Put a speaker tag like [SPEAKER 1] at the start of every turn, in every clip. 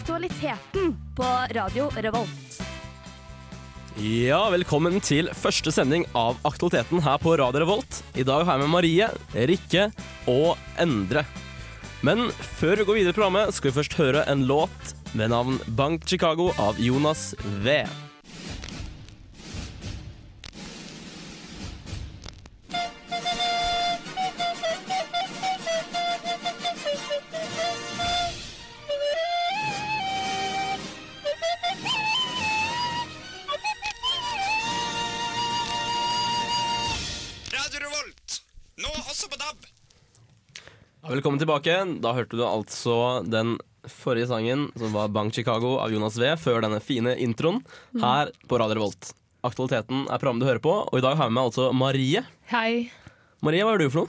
[SPEAKER 1] Kvaliteten på Radio Revolt.
[SPEAKER 2] Ja, velkommen til første sending av Aktualiteten her på Radio Revolt. I dag har jeg med Marie, Rikke og Endre. Men før vi går videre i programmet, skal vi først høre en låt med navn Bank Chicago av Jonas V.
[SPEAKER 3] Radio Revolt, nå også på DAB.
[SPEAKER 2] Velkommen tilbake. Da hørte du altså den forrige sangen, som var Bank Chicago av Jonas V, før denne fine introen
[SPEAKER 4] Mm.
[SPEAKER 2] her på Radio Revolt. Aktualiteten er programmet du hører på, og i dag har jeg med meg altså Marie.
[SPEAKER 4] Hei.
[SPEAKER 2] Marie, hva gjør du for noe?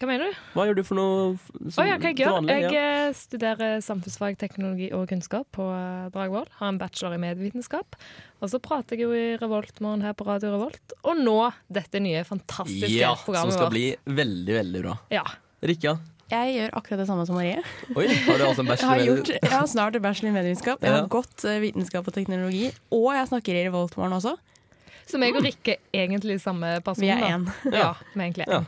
[SPEAKER 4] Hva mener du?
[SPEAKER 2] Hva gjør du for noe
[SPEAKER 4] Å ja, hva jeg gjør?
[SPEAKER 2] vanlig?
[SPEAKER 4] Jeg
[SPEAKER 2] Ja.
[SPEAKER 4] eh, studerer samfunnsfag, teknologi og kunnskap på eh, Dragvoll. Har en bachelor i medievitenskap. Og så prater jeg jo i Revoltmorgen her på Radio Revolt. Og nå dette nye, fantastiske
[SPEAKER 2] Ja, som
[SPEAKER 4] programmet
[SPEAKER 2] skal
[SPEAKER 4] vårt.
[SPEAKER 2] bli veldig, veldig bra.
[SPEAKER 4] Ja.
[SPEAKER 2] Rikka,
[SPEAKER 5] Jeg gjør akkurat det samme som Marie.
[SPEAKER 2] oi, har du også en
[SPEAKER 5] Jeg har,
[SPEAKER 2] bachelor?
[SPEAKER 5] gjort, jeg har snart bachelor i medievitenskap. Jeg
[SPEAKER 2] Ja.
[SPEAKER 5] har gått eh, vitenskap og teknologi. Og jeg snakker i Revoltmorgen også.
[SPEAKER 4] Så meg og Rikke er egentlig samme person.
[SPEAKER 5] Vi er
[SPEAKER 4] da.
[SPEAKER 5] én.
[SPEAKER 4] Ja, vi er egentlig
[SPEAKER 2] Ja.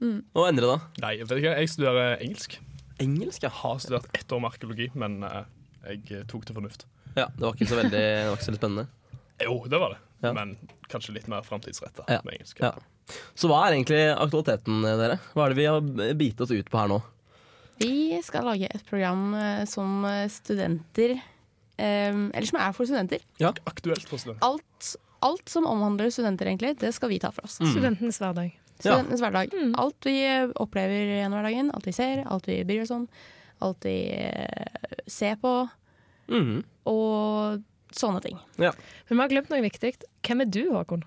[SPEAKER 4] én.
[SPEAKER 2] Og Endre, da?
[SPEAKER 6] Nei, jeg vet ikke, jeg studerer engelsk.
[SPEAKER 2] Engelsk, ja.
[SPEAKER 6] Har studert ett år med arkeologi, men eh, jeg tok til fornuft.
[SPEAKER 2] ja. Det var ikke så veldig det var ikke så veldig spennende.
[SPEAKER 6] Jo, det var det.
[SPEAKER 2] Ja.
[SPEAKER 6] Men kanskje litt mer framtidsretta
[SPEAKER 2] Ja.
[SPEAKER 6] med engelsk.
[SPEAKER 2] Ja. Så hva er egentlig aktualiteten, dere? Hva er det vi har bitt oss ut på her nå?
[SPEAKER 5] Vi skal lage et program eh, som studenter eh, Eller som er for studenter.
[SPEAKER 6] Aktuelt for studenter.
[SPEAKER 5] Alt, alt som omhandler studenter, egentlig, det skal vi ta for
[SPEAKER 2] Mm.
[SPEAKER 5] oss.
[SPEAKER 4] Studentenes hverdag.
[SPEAKER 2] Ja.
[SPEAKER 5] Studentenes hverdag. Alt vi eh, opplever gjennom hverdagen. Alt vi ser, alt vi bryr oss om. Alt vi eh, ser på.
[SPEAKER 2] Mhm.
[SPEAKER 5] Og sånne ting.
[SPEAKER 4] Men vi har glemt noe viktig. Hvem er du, Håkon?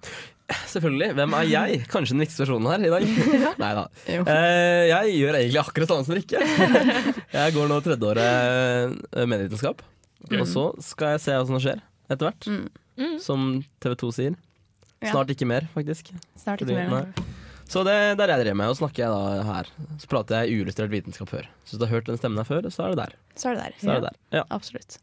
[SPEAKER 2] Selvfølgelig. Hvem er jeg? Kanskje den viktigste personen her i dag? Nei da.
[SPEAKER 5] Jo.
[SPEAKER 2] Eh, jeg gjør egentlig akkurat samme som Rikke. Jeg går nå tredjeåret eh, medievitenskap.
[SPEAKER 5] Mm.
[SPEAKER 2] Og så skal jeg se hva som skjer etter hvert.
[SPEAKER 4] Mm.
[SPEAKER 2] Som TV 2 sier.
[SPEAKER 5] Ja.
[SPEAKER 2] Snart ikke mer, faktisk.
[SPEAKER 5] Snart
[SPEAKER 2] Fordi-
[SPEAKER 5] ikke mer.
[SPEAKER 2] nei. Så det, det er det jeg driver med. Og snakker jeg da her. Så prater jeg uillustrert vitenskap før. Så hvis du har hørt den stemmen her før, så er det der.
[SPEAKER 5] Så er det der.
[SPEAKER 2] Så er det der. Ja.
[SPEAKER 5] Absolutt.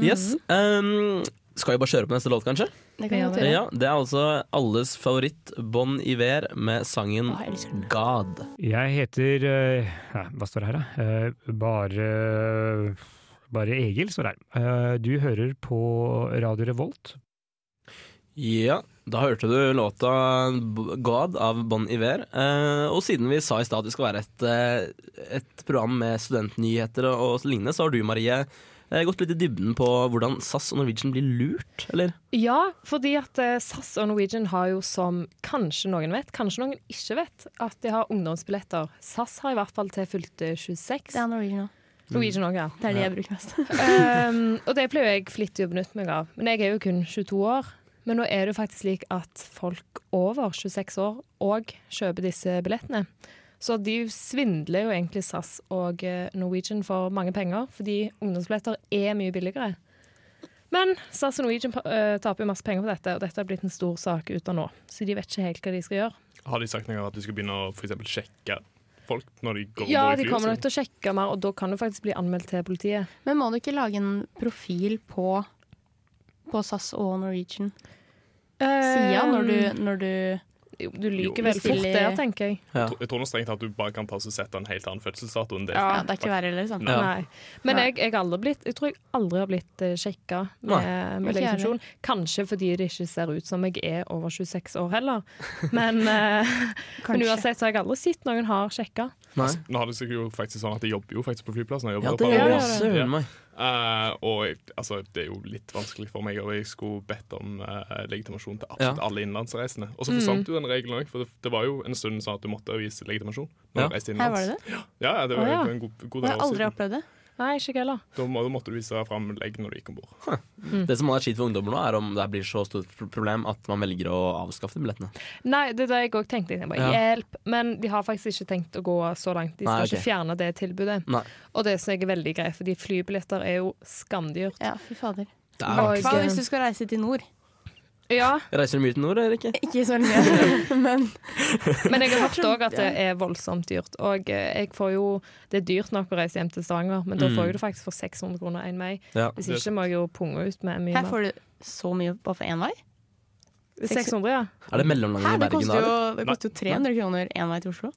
[SPEAKER 5] Mm.
[SPEAKER 2] Yes. ehm, skal vi bare kjøre på neste låt, kanskje?
[SPEAKER 5] Det kan vi
[SPEAKER 4] Ja,
[SPEAKER 5] godt
[SPEAKER 4] det-
[SPEAKER 5] gjøre.
[SPEAKER 2] Ja, Det er altså alles favoritt Bon Iver med sangen
[SPEAKER 5] Å, jeg elsker den.
[SPEAKER 2] God.
[SPEAKER 7] Jeg heter eh, nei, Hva står det her, da? Eh, Bare Bare Egil står det her. Eh, Du hører på Radio Revolt.
[SPEAKER 2] Ja, da hørte du låta B- God av Bon Iver. Eh, og siden vi sa i stad at det skal være et, eh, et program med studentnyheter og, og lignende, så har du, Marie, eh, gått litt i dybden på hvordan SAS og Norwegian blir lurt, eller?
[SPEAKER 4] Ja, fordi at eh, SAS og Norwegian har jo som kanskje noen vet, kanskje noen ikke vet, at de har ungdomsbilletter. SAS har i hvert fall til fylte 26.
[SPEAKER 5] Det er Norwegian òg.
[SPEAKER 4] Norwegian også, ja.
[SPEAKER 5] Det er det jeg bruker mest.
[SPEAKER 4] Ehm, og det pleier jo jeg flittig å benytte meg av. Men jeg er jo kun 22 år. Men nå er det jo faktisk slik at folk over 26 år òg kjøper disse billettene. Så de svindler jo egentlig SAS og eh, Norwegian for mange penger, fordi ungdomsbilletter er mye billigere. Men SAS og Norwegian eh, taper jo masse penger på dette, og dette har blitt en stor sak ut av nå. Så de vet ikke helt hva de skal gjøre.
[SPEAKER 6] Har de sagt noe om at du skal begynne å for eksempel, sjekke folk når de går om
[SPEAKER 4] Ja,
[SPEAKER 6] bord i
[SPEAKER 4] de
[SPEAKER 6] flyet
[SPEAKER 4] kommer nok
[SPEAKER 6] sitt?
[SPEAKER 4] til å sjekke mer, og da kan du faktisk bli anmeldt til politiet.
[SPEAKER 5] Men må du ikke lage en profil på, på SAS og Norwegian? Sida når du, når du
[SPEAKER 4] Jo, Du lyver
[SPEAKER 6] Jo,
[SPEAKER 4] vel fort
[SPEAKER 5] bestiller-
[SPEAKER 4] der, tenker jeg.
[SPEAKER 2] Ja.
[SPEAKER 6] Jeg tror nå strengt tatt du bare kan ta og sette en helt annen fødselsdato enn det.
[SPEAKER 4] Ja.
[SPEAKER 5] ja, Det er ikke verre, liksom.
[SPEAKER 2] Ja.
[SPEAKER 4] Nei. Men
[SPEAKER 5] Nei.
[SPEAKER 4] jeg, jeg, har aldri blitt, jeg tror jeg aldri har blitt eh, sjekka med, med
[SPEAKER 5] Ikke jeg
[SPEAKER 4] legitimasjon. Kanskje fordi det ikke ser ut som jeg er over 26 år heller. Men, eh, men
[SPEAKER 5] Kanskje.
[SPEAKER 4] uansett så har jeg aldri sett noen har sjekka.
[SPEAKER 2] Nei.
[SPEAKER 6] Nå har det seg jo faktisk sånn at jeg jobber jo faktisk på flyplassen. Jeg
[SPEAKER 2] Ja,
[SPEAKER 6] jobber
[SPEAKER 2] det
[SPEAKER 6] der på
[SPEAKER 2] gjør det.
[SPEAKER 4] gjør det.
[SPEAKER 6] alle-
[SPEAKER 2] Søren
[SPEAKER 6] Ja.
[SPEAKER 2] meg.
[SPEAKER 6] Eh, og jeg, altså, det er jo litt vanskelig for meg, og jeg skulle bedt om eh, legitimasjon til absolutt
[SPEAKER 2] Ja.
[SPEAKER 6] alle innenlandsreisende. Og
[SPEAKER 5] Mm.
[SPEAKER 6] så forsvant jo den regelen òg, for det, det var jo en stund sånn at du måtte vise legitimasjon. Når
[SPEAKER 2] Ja.
[SPEAKER 6] du reiste
[SPEAKER 5] Her
[SPEAKER 6] innenlands.
[SPEAKER 5] var det det.
[SPEAKER 6] Ja, ja, det
[SPEAKER 4] Å,
[SPEAKER 6] var
[SPEAKER 4] ja.
[SPEAKER 6] jo en god, god
[SPEAKER 5] Jeg har
[SPEAKER 6] del år
[SPEAKER 5] aldri
[SPEAKER 6] siden.
[SPEAKER 5] opplevd det.
[SPEAKER 4] Nei, ikke jeg heller.
[SPEAKER 6] Da må, da måtte du vise fram legg når du gikk om bord.
[SPEAKER 2] Det som er skitt for ungdommer nå, er om det her blir så stort pro- problem at man velger å avskaffe de billettene.
[SPEAKER 4] Nei, det er det jeg òg tenkte. Jeg
[SPEAKER 2] Ja.
[SPEAKER 4] bare, Hjelp! Men de har faktisk ikke tenkt å gå så langt. De skal
[SPEAKER 2] Nei, ok.
[SPEAKER 4] ikke fjerne det tilbudet.
[SPEAKER 2] Nei.
[SPEAKER 4] Og det som jeg er veldig greit, fordi flybilletter er jo skamdyrt.
[SPEAKER 5] Ja, fy fader.
[SPEAKER 2] Det er,
[SPEAKER 4] Hva er-
[SPEAKER 5] Hva hvis du skal reise til nord?
[SPEAKER 4] Ja,
[SPEAKER 2] Reiser du mye til nord, eller ikke?
[SPEAKER 5] Ikke så mye, men
[SPEAKER 4] men jeg har hørt òg at det er voldsomt dyrt. Og eh, jeg får jo Det er dyrt nok å reise hjem til Stavanger, men da
[SPEAKER 2] Mm.
[SPEAKER 4] får jeg det faktisk for 600 kroner én vei.
[SPEAKER 2] Ja.
[SPEAKER 4] Hvis ikke må jeg jo punge ut med mye
[SPEAKER 5] her
[SPEAKER 4] mer.
[SPEAKER 5] får du så mye bare for én vei.
[SPEAKER 4] 600, ja.
[SPEAKER 2] Er det mellomlandet
[SPEAKER 5] Her,
[SPEAKER 2] i
[SPEAKER 5] det
[SPEAKER 2] Bergen da?
[SPEAKER 5] koster jo,
[SPEAKER 2] eller?
[SPEAKER 5] det koster jo 300 kroner én vei til Oslo.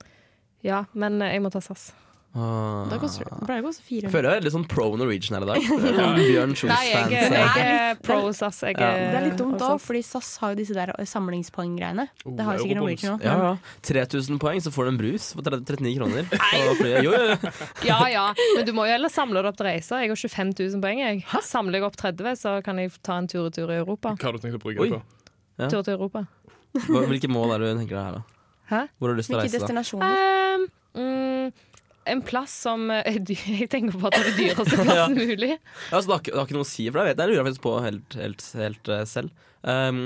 [SPEAKER 4] Ja, men eh, jeg må ta SAS.
[SPEAKER 2] Ah.
[SPEAKER 5] Da koster det, det pleier å koste
[SPEAKER 2] Jeg
[SPEAKER 5] 400.
[SPEAKER 2] føler jeg er litt sånn pro Norwegian her i dag. Det er Bjørn
[SPEAKER 4] Nei, jeg, jeg,
[SPEAKER 2] Kjos-fans. her.
[SPEAKER 4] er pro SAS. Jeg,
[SPEAKER 2] Ja.
[SPEAKER 5] Det er litt dumt da,
[SPEAKER 4] også.
[SPEAKER 5] fordi SAS har jo disse der eh, samlingspoeng-greiene.
[SPEAKER 6] Oh,
[SPEAKER 5] Det har jo sikkert
[SPEAKER 6] Eurobonus.
[SPEAKER 5] Norwegian òg.
[SPEAKER 2] Ja, ja. 3000 poeng, så får du en brus for 30 39 kroner. på flyet. Jo, jo, jo.
[SPEAKER 4] Ja, ja, men du må jo heller samle det opp til reiser. Jeg har 25 000 poeng. Jeg. Samler jeg opp 30, så kan jeg ta en tur-retur i Europa.
[SPEAKER 6] Hva har du tenkt å bruke
[SPEAKER 2] Oi.
[SPEAKER 6] det på?
[SPEAKER 2] Ja.
[SPEAKER 4] Tur til Europa.
[SPEAKER 2] Hva- Hvilke mål er det du tenker deg her, da?
[SPEAKER 4] Hæ?
[SPEAKER 2] Hvor har du lyst til å reise?
[SPEAKER 5] Hvilke
[SPEAKER 2] da?
[SPEAKER 5] destinasjoner?
[SPEAKER 4] Ehm, mm, en plass som eh, er dyr. Jeg tenker på at det er dyreste plassen mulig.
[SPEAKER 2] Ja, så det, har ikke, det har ikke noe å si for deg? vet Jeg Jeg lurer jeg faktisk på helt, helt, helt eh, selv. Um,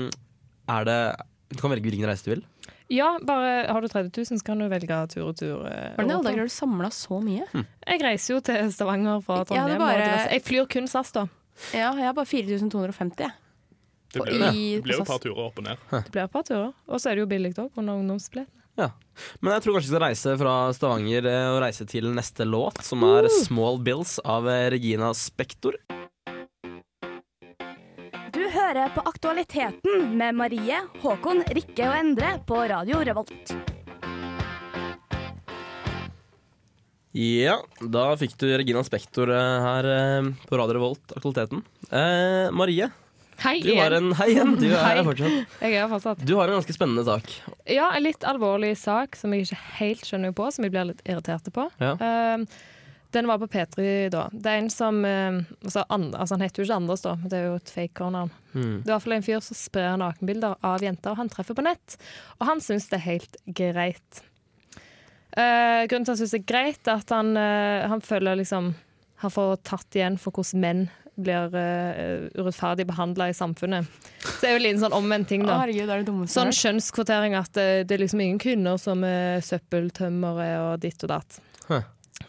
[SPEAKER 2] er det Du kan velge hvilken reise du vil.
[SPEAKER 4] Ja, bare har du 30 000, så kan du velge tur-retur. eh,
[SPEAKER 5] Hvordan i alle
[SPEAKER 4] Europa.
[SPEAKER 5] dager har du samla så mye?
[SPEAKER 4] Jeg reiser jo til Stavanger fra
[SPEAKER 5] Jeg hadde
[SPEAKER 4] Trondheim. og
[SPEAKER 5] bare-
[SPEAKER 4] diverse- Jeg flyr kun SAS, da.
[SPEAKER 5] Ja, jeg har bare 4250, jeg.
[SPEAKER 6] Det
[SPEAKER 5] Og
[SPEAKER 6] blir, jo-
[SPEAKER 5] i-
[SPEAKER 6] det blir
[SPEAKER 5] på
[SPEAKER 6] jo et par
[SPEAKER 5] SAS.
[SPEAKER 6] turer opp og ned.
[SPEAKER 4] Det blir et par turer. Og så er det jo billig òg, under ungdomsbilletten.
[SPEAKER 2] Men jeg tror kanskje jeg skal reise fra Stavanger eh, og reise til neste låt, som er 'Small Bills' av eh, Regina Spektor.
[SPEAKER 1] Du hører på Aktualiteten med Marie, Håkon, Rikke og Endre på Radio Revolt.
[SPEAKER 2] Ja, da fikk du Regina Spektor eh, her eh, på Radio Revolt, aktualiteten. Eh, Marie,
[SPEAKER 4] Hei,
[SPEAKER 2] du har
[SPEAKER 4] igjen.
[SPEAKER 2] en Hei igjen, du er her
[SPEAKER 4] Hei.
[SPEAKER 2] fortsatt.
[SPEAKER 4] Jeg er her fortsatt.
[SPEAKER 2] Du har en ganske spennende sak.
[SPEAKER 4] Ja, en litt alvorlig sak som jeg ikke helt skjønner på, som jeg blir litt irriterte på.
[SPEAKER 2] Ja.
[SPEAKER 4] Ehm, den var på P3 da. Det er en som ehm, altså, and, altså Han heter jo ikke Anders, da, men det er jo et fake navn. Det er i hvert fall en fyr som sprer nakenbilder av jenter han treffer på nett. Og han syns det er helt greit. Eh, grunnen til at han syns det er greit, er at han, eh, han føler liksom Han får tatt igjen for hvordan menn blir eh, urettferdig behandla i samfunnet. Så det er jo en liten sånn omvendt ting,
[SPEAKER 5] Å,
[SPEAKER 4] da.
[SPEAKER 5] herregud, det er det dummeste jeg har
[SPEAKER 4] Sånn
[SPEAKER 5] hørt.
[SPEAKER 4] kjønnskvotering at det, det er liksom ingen kvinner som er søppeltømmere og ditt og datt.
[SPEAKER 2] Hæ.
[SPEAKER 5] Ok, er det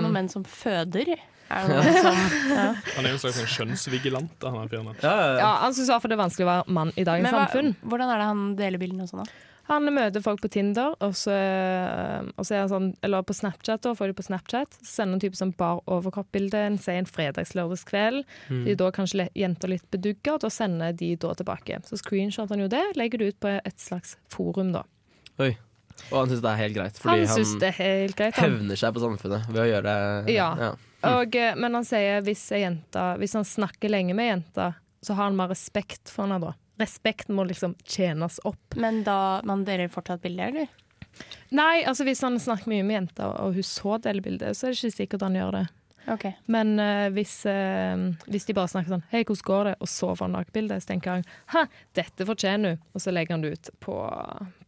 [SPEAKER 4] Um,
[SPEAKER 5] noen menn som føder? Er det noen som, ja.
[SPEAKER 6] Han er jo en slags sånn kjønnsvigilant. da, Han er fyren der.
[SPEAKER 2] Ja,
[SPEAKER 4] ja, altså, han syns iallfall det er vanskelig å være mann i dagens
[SPEAKER 5] Men hva,
[SPEAKER 4] samfunn.
[SPEAKER 5] hvordan er det han deler bildene og sånn, da?
[SPEAKER 4] Han møter folk på Tinder, og så, um, og så er han sånn Eller på Snapchat, da, får de på Snapchat. Så sender han type sånn bar overkropp-bilde en si en fredags-lørdagskveld.
[SPEAKER 2] Hmm.
[SPEAKER 4] De er da kanskje le- jenter litt bedugga, og da sender de da tilbake. Så screenshoter han jo det, legger det ut på et slags forum, da.
[SPEAKER 2] Oi. Og han syns det er helt greit, fordi
[SPEAKER 4] Han
[SPEAKER 2] han,
[SPEAKER 4] syns det er helt greit. Han.
[SPEAKER 2] hevner seg på samfunnet ved å gjøre det.
[SPEAKER 4] Ja. Og, eh, men han sier hvis, ei jenta, hvis han snakker lenge med ei jente, så har han mer respekt for henne da. Respekten må liksom tjenes opp.
[SPEAKER 5] Men da man deler fortsatt bilder, eller?
[SPEAKER 4] Nei, altså hvis han snakker mye med jenta, og hun så deler bildet, så er det ikke sikkert han gjør det.
[SPEAKER 5] Ok.
[SPEAKER 4] Men eh, hvis, eh, hvis de bare snakker sånn 'Hei, hvordan går det?' og så får han nakenbildet, så tenker han 'Hæ, dette fortjener hun', og så legger han det ut på,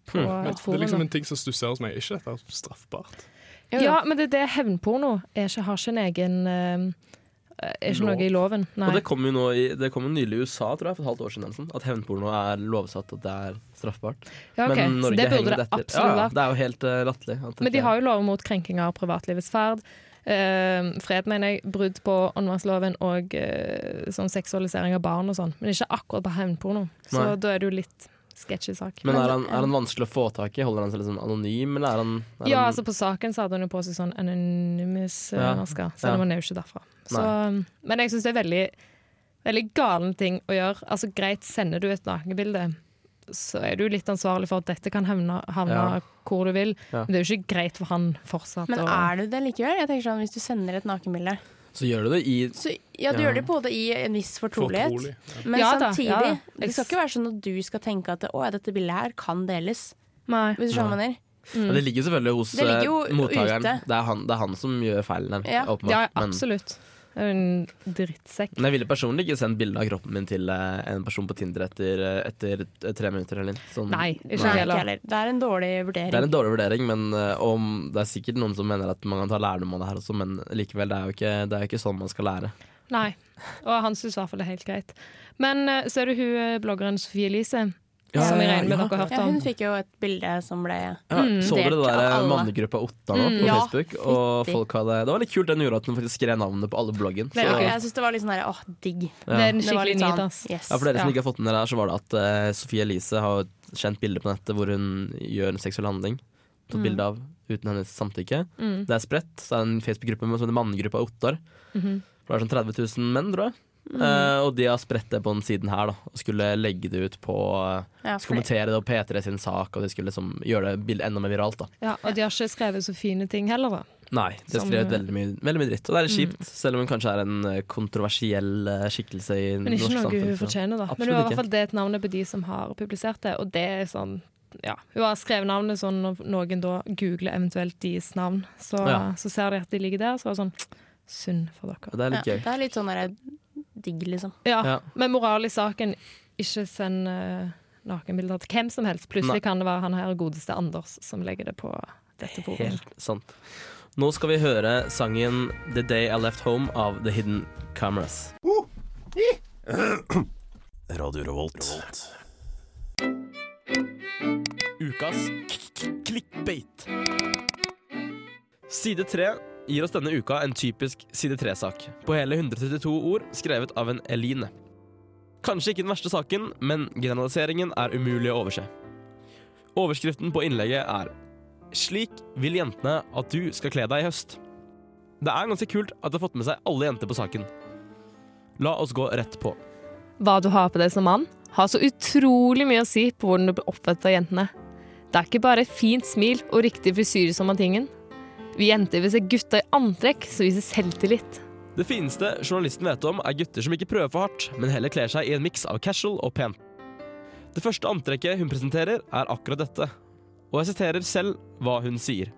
[SPEAKER 4] på
[SPEAKER 6] Men
[SPEAKER 4] et
[SPEAKER 6] det er
[SPEAKER 4] forum.
[SPEAKER 6] liksom
[SPEAKER 4] da.
[SPEAKER 6] en ting som stusser hos meg. Ikke dette er straffbart.
[SPEAKER 4] Ja, men det er det hevnporno er ikke, har ikke en egen eh, Er ikke
[SPEAKER 6] Lov.
[SPEAKER 4] noe i loven. Nei.
[SPEAKER 2] Og det kom jo nå i, det kom jo nylig i USA tror jeg, for et halvt år siden, Nelson, at hevnporno er lovsatt at det er straffbart.
[SPEAKER 4] Ja, ok.
[SPEAKER 2] Men
[SPEAKER 4] Så
[SPEAKER 2] Norge
[SPEAKER 4] det burde
[SPEAKER 2] henger
[SPEAKER 4] det
[SPEAKER 2] litt etter.
[SPEAKER 4] absolutt
[SPEAKER 2] Ja, ja,
[SPEAKER 4] vært.
[SPEAKER 2] det er jo helt eh, latterlig. at det
[SPEAKER 4] Men
[SPEAKER 2] ikke
[SPEAKER 4] de
[SPEAKER 2] er-
[SPEAKER 4] har jo lov mot krenking av privatlivets ferd. eh, fred, mener jeg. Brudd på åndsvernsloven og eh, sånn seksualisering av barn og sånn. Men ikke akkurat på hevnporno. Så
[SPEAKER 2] Nei.
[SPEAKER 4] da er det jo litt sketchy sak.
[SPEAKER 2] Men er han, er han vanskelig å få tak i? Holder han seg liksom anonym, eller er han, er
[SPEAKER 4] ja,
[SPEAKER 2] han
[SPEAKER 4] altså på saken så hadde hun jo på seg sånn
[SPEAKER 2] Ja,
[SPEAKER 4] anonymous-maske,
[SPEAKER 2] ja.
[SPEAKER 4] selv om hun er jo ikke derfra. Så, ehm, men jeg syns det er veldig, veldig galen ting å gjøre. Altså greit, sender du et nakenbilde, så er du litt ansvarlig for at dette kan havne, havne
[SPEAKER 2] Ja.
[SPEAKER 4] hvor du vil.
[SPEAKER 2] Ja.
[SPEAKER 4] Men det er jo ikke greit for han fortsatt.
[SPEAKER 5] Men
[SPEAKER 4] å-
[SPEAKER 5] er du det likevel? Jeg tenker sånn, Hvis du sender et nakenbilde
[SPEAKER 2] Så gjør du det i
[SPEAKER 5] så, Ja, du
[SPEAKER 2] Ja.
[SPEAKER 5] gjør det på en måte i en viss fortrolighet,
[SPEAKER 6] Fortrolig.
[SPEAKER 5] men
[SPEAKER 4] Ja da,
[SPEAKER 5] samtidig
[SPEAKER 4] ja da.
[SPEAKER 5] Det skal ikke være sånn at du skal tenke at å, ja, dette bildet her kan deles.
[SPEAKER 4] Nei.
[SPEAKER 5] Hvis du skjønner hva jeg mener.
[SPEAKER 2] ja, Det ligger selvfølgelig hos
[SPEAKER 5] Det ligger jo
[SPEAKER 2] eh, mottakeren.
[SPEAKER 5] ute.
[SPEAKER 2] Det, er han, det er han som gjør feilen her,
[SPEAKER 5] Ja.
[SPEAKER 2] åpenbart.
[SPEAKER 4] Ja,
[SPEAKER 2] Men-
[SPEAKER 4] absolutt. Det er jo En drittsekk.
[SPEAKER 2] Men jeg ville personlig ikke sendt bilde av kroppen min til eh, en person på Tinder etter, eh, etter eh, tre minutter. Eller, noe. sånn,
[SPEAKER 4] Nei, ikke
[SPEAKER 5] Nei,
[SPEAKER 4] heller.
[SPEAKER 5] ikke heller. Det er en dårlig vurdering.
[SPEAKER 2] Det er en dårlig vurdering, men eh, om, det er sikkert noen som mener at man kan ta lærdom av det her også, men likevel, det er jo ikke, det er jo ikke sånn man skal lære.
[SPEAKER 4] Nei. Og han syns i hvert fall det er helt greit. Men eh, så er det hun eh, bloggeren Sofie Elise
[SPEAKER 2] Ja,
[SPEAKER 4] som jeg
[SPEAKER 2] ja,
[SPEAKER 4] regner med
[SPEAKER 2] ja.
[SPEAKER 4] dere har hørt
[SPEAKER 5] Ja,
[SPEAKER 4] om.
[SPEAKER 5] hun fikk jo et bilde som ble
[SPEAKER 2] Ja,
[SPEAKER 4] Mm.
[SPEAKER 2] så dere det
[SPEAKER 5] Delt av
[SPEAKER 2] der
[SPEAKER 5] alle.
[SPEAKER 2] mannegruppa Otta nå
[SPEAKER 4] Mm.
[SPEAKER 2] på
[SPEAKER 5] Ja,
[SPEAKER 2] Facebook? Og
[SPEAKER 5] fytti.
[SPEAKER 2] folk hadde, det var litt kult den gjorde at den faktisk skrev navnet på alle bloggen. Så,
[SPEAKER 4] Veldig
[SPEAKER 5] Ja,
[SPEAKER 4] gøy.
[SPEAKER 2] ja,
[SPEAKER 5] Jeg syns det var litt sånn her, åh, digg.
[SPEAKER 4] Det er en
[SPEAKER 5] Det var
[SPEAKER 4] skikkelig
[SPEAKER 5] litt
[SPEAKER 4] nyhet,
[SPEAKER 5] sånn,
[SPEAKER 4] ass.
[SPEAKER 5] yes.
[SPEAKER 2] for dere som
[SPEAKER 4] Ja.
[SPEAKER 2] ikke har fått med dere her, så var det at eh, Sophie Elise har et kjent bilde på nettet hvor hun gjør en seksuell handling. Tatt bilde av uten hennes samtykke.
[SPEAKER 4] Mm.
[SPEAKER 2] Det er spredt. Så er det en Facebook-gruppe med- som heter Mannegruppa Ottar.
[SPEAKER 4] Mhm.
[SPEAKER 2] Det er sånn 30 000 menn, tror jeg.
[SPEAKER 4] Mm.
[SPEAKER 2] Eh, og de har spredt det på den siden her, da. Og skulle legge det ut på eh, Skulle
[SPEAKER 5] Ja, for det-
[SPEAKER 2] kommentere det og P3 sin sak, og de skulle liksom gjøre det bildet enda mer viralt, da.
[SPEAKER 4] Ja, og de har ikke skrevet så fine ting heller, da.
[SPEAKER 2] Nei, de har
[SPEAKER 4] Som- eh, Mm.
[SPEAKER 2] skrevet veldig mye, veldig mye dritt. Og det er litt kjipt, selv om hun kanskje er en eh, kontroversiell eh, skikkelse i
[SPEAKER 4] Men
[SPEAKER 2] norsk
[SPEAKER 4] ikke noe
[SPEAKER 2] samfunn.
[SPEAKER 4] hun
[SPEAKER 2] så-
[SPEAKER 4] fortjener, da. Men
[SPEAKER 2] Absolutt
[SPEAKER 4] hun har i
[SPEAKER 2] ikke.
[SPEAKER 4] hvert fall det navnet på de som har publisert det, og det er sånn ja. Hun har skrevet navnet sånn når noen da googler eventuelt deres navn, så,
[SPEAKER 2] Ja.
[SPEAKER 4] så ser de at de ligger der, så er det sånn Synd for
[SPEAKER 2] Ja,
[SPEAKER 4] dere.
[SPEAKER 2] Det er
[SPEAKER 5] Ja,
[SPEAKER 2] litt gøy.
[SPEAKER 5] det er litt sånn der, digg, liksom.
[SPEAKER 4] Ja,
[SPEAKER 2] Ja.
[SPEAKER 4] Men moral i saken, ikke send eh, nakenbilder til hvem som helst.
[SPEAKER 2] Nei.
[SPEAKER 4] Plutselig kan det være han her godeste Anders som legger det på dette forumet.
[SPEAKER 2] Helt sant. Nå skal vi høre sangen 'The Day I Left Home' av The Hidden Cameras.
[SPEAKER 8] Radio Revolt.
[SPEAKER 2] Ukas clickbait. Side 3 gir oss denne uka en typisk side 3-sak, på hele 132 ord skrevet av en Eline. Kanskje ikke den verste saken, men generaliseringen er umulig å overse. Overskriften på innlegget er Slik vil jentene at du skal kle deg i høst. Det er ganske kult at det har fått med seg alle jenter på saken. La oss gå rett på.
[SPEAKER 4] Hva du har på deg som mann, har så utrolig mye å si på hvordan du blir oppfattet av jentene. Det er ikke bare et fint smil og riktig frisyre som er tingen. Vi jenter vil se gutter i antrekk som viser selvtillit.
[SPEAKER 2] Det fineste journalisten vet om, er gutter som ikke prøver for hardt, men heller kler seg i en miks av casual og pent. Det første antrekket hun presenterer, er akkurat dette. Og jeg siterer selv hva hun sier.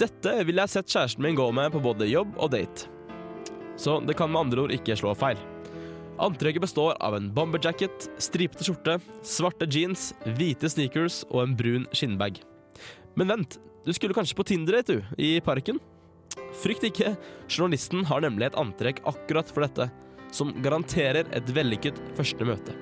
[SPEAKER 2] Dette ville jeg sett kjæresten min gå med på både jobb og date. Så det kan med andre ord ikke slå feil. Antrekket består av en bomberjacket, stripete skjorte, svarte jeans, hvite sneakers og en brun skinnbag. Men vent, du skulle kanskje på Tinder-date, du, i parken? Frykt ikke, Journalisten har nemlig et antrekk akkurat for dette, som garanterer et vellykket første møte.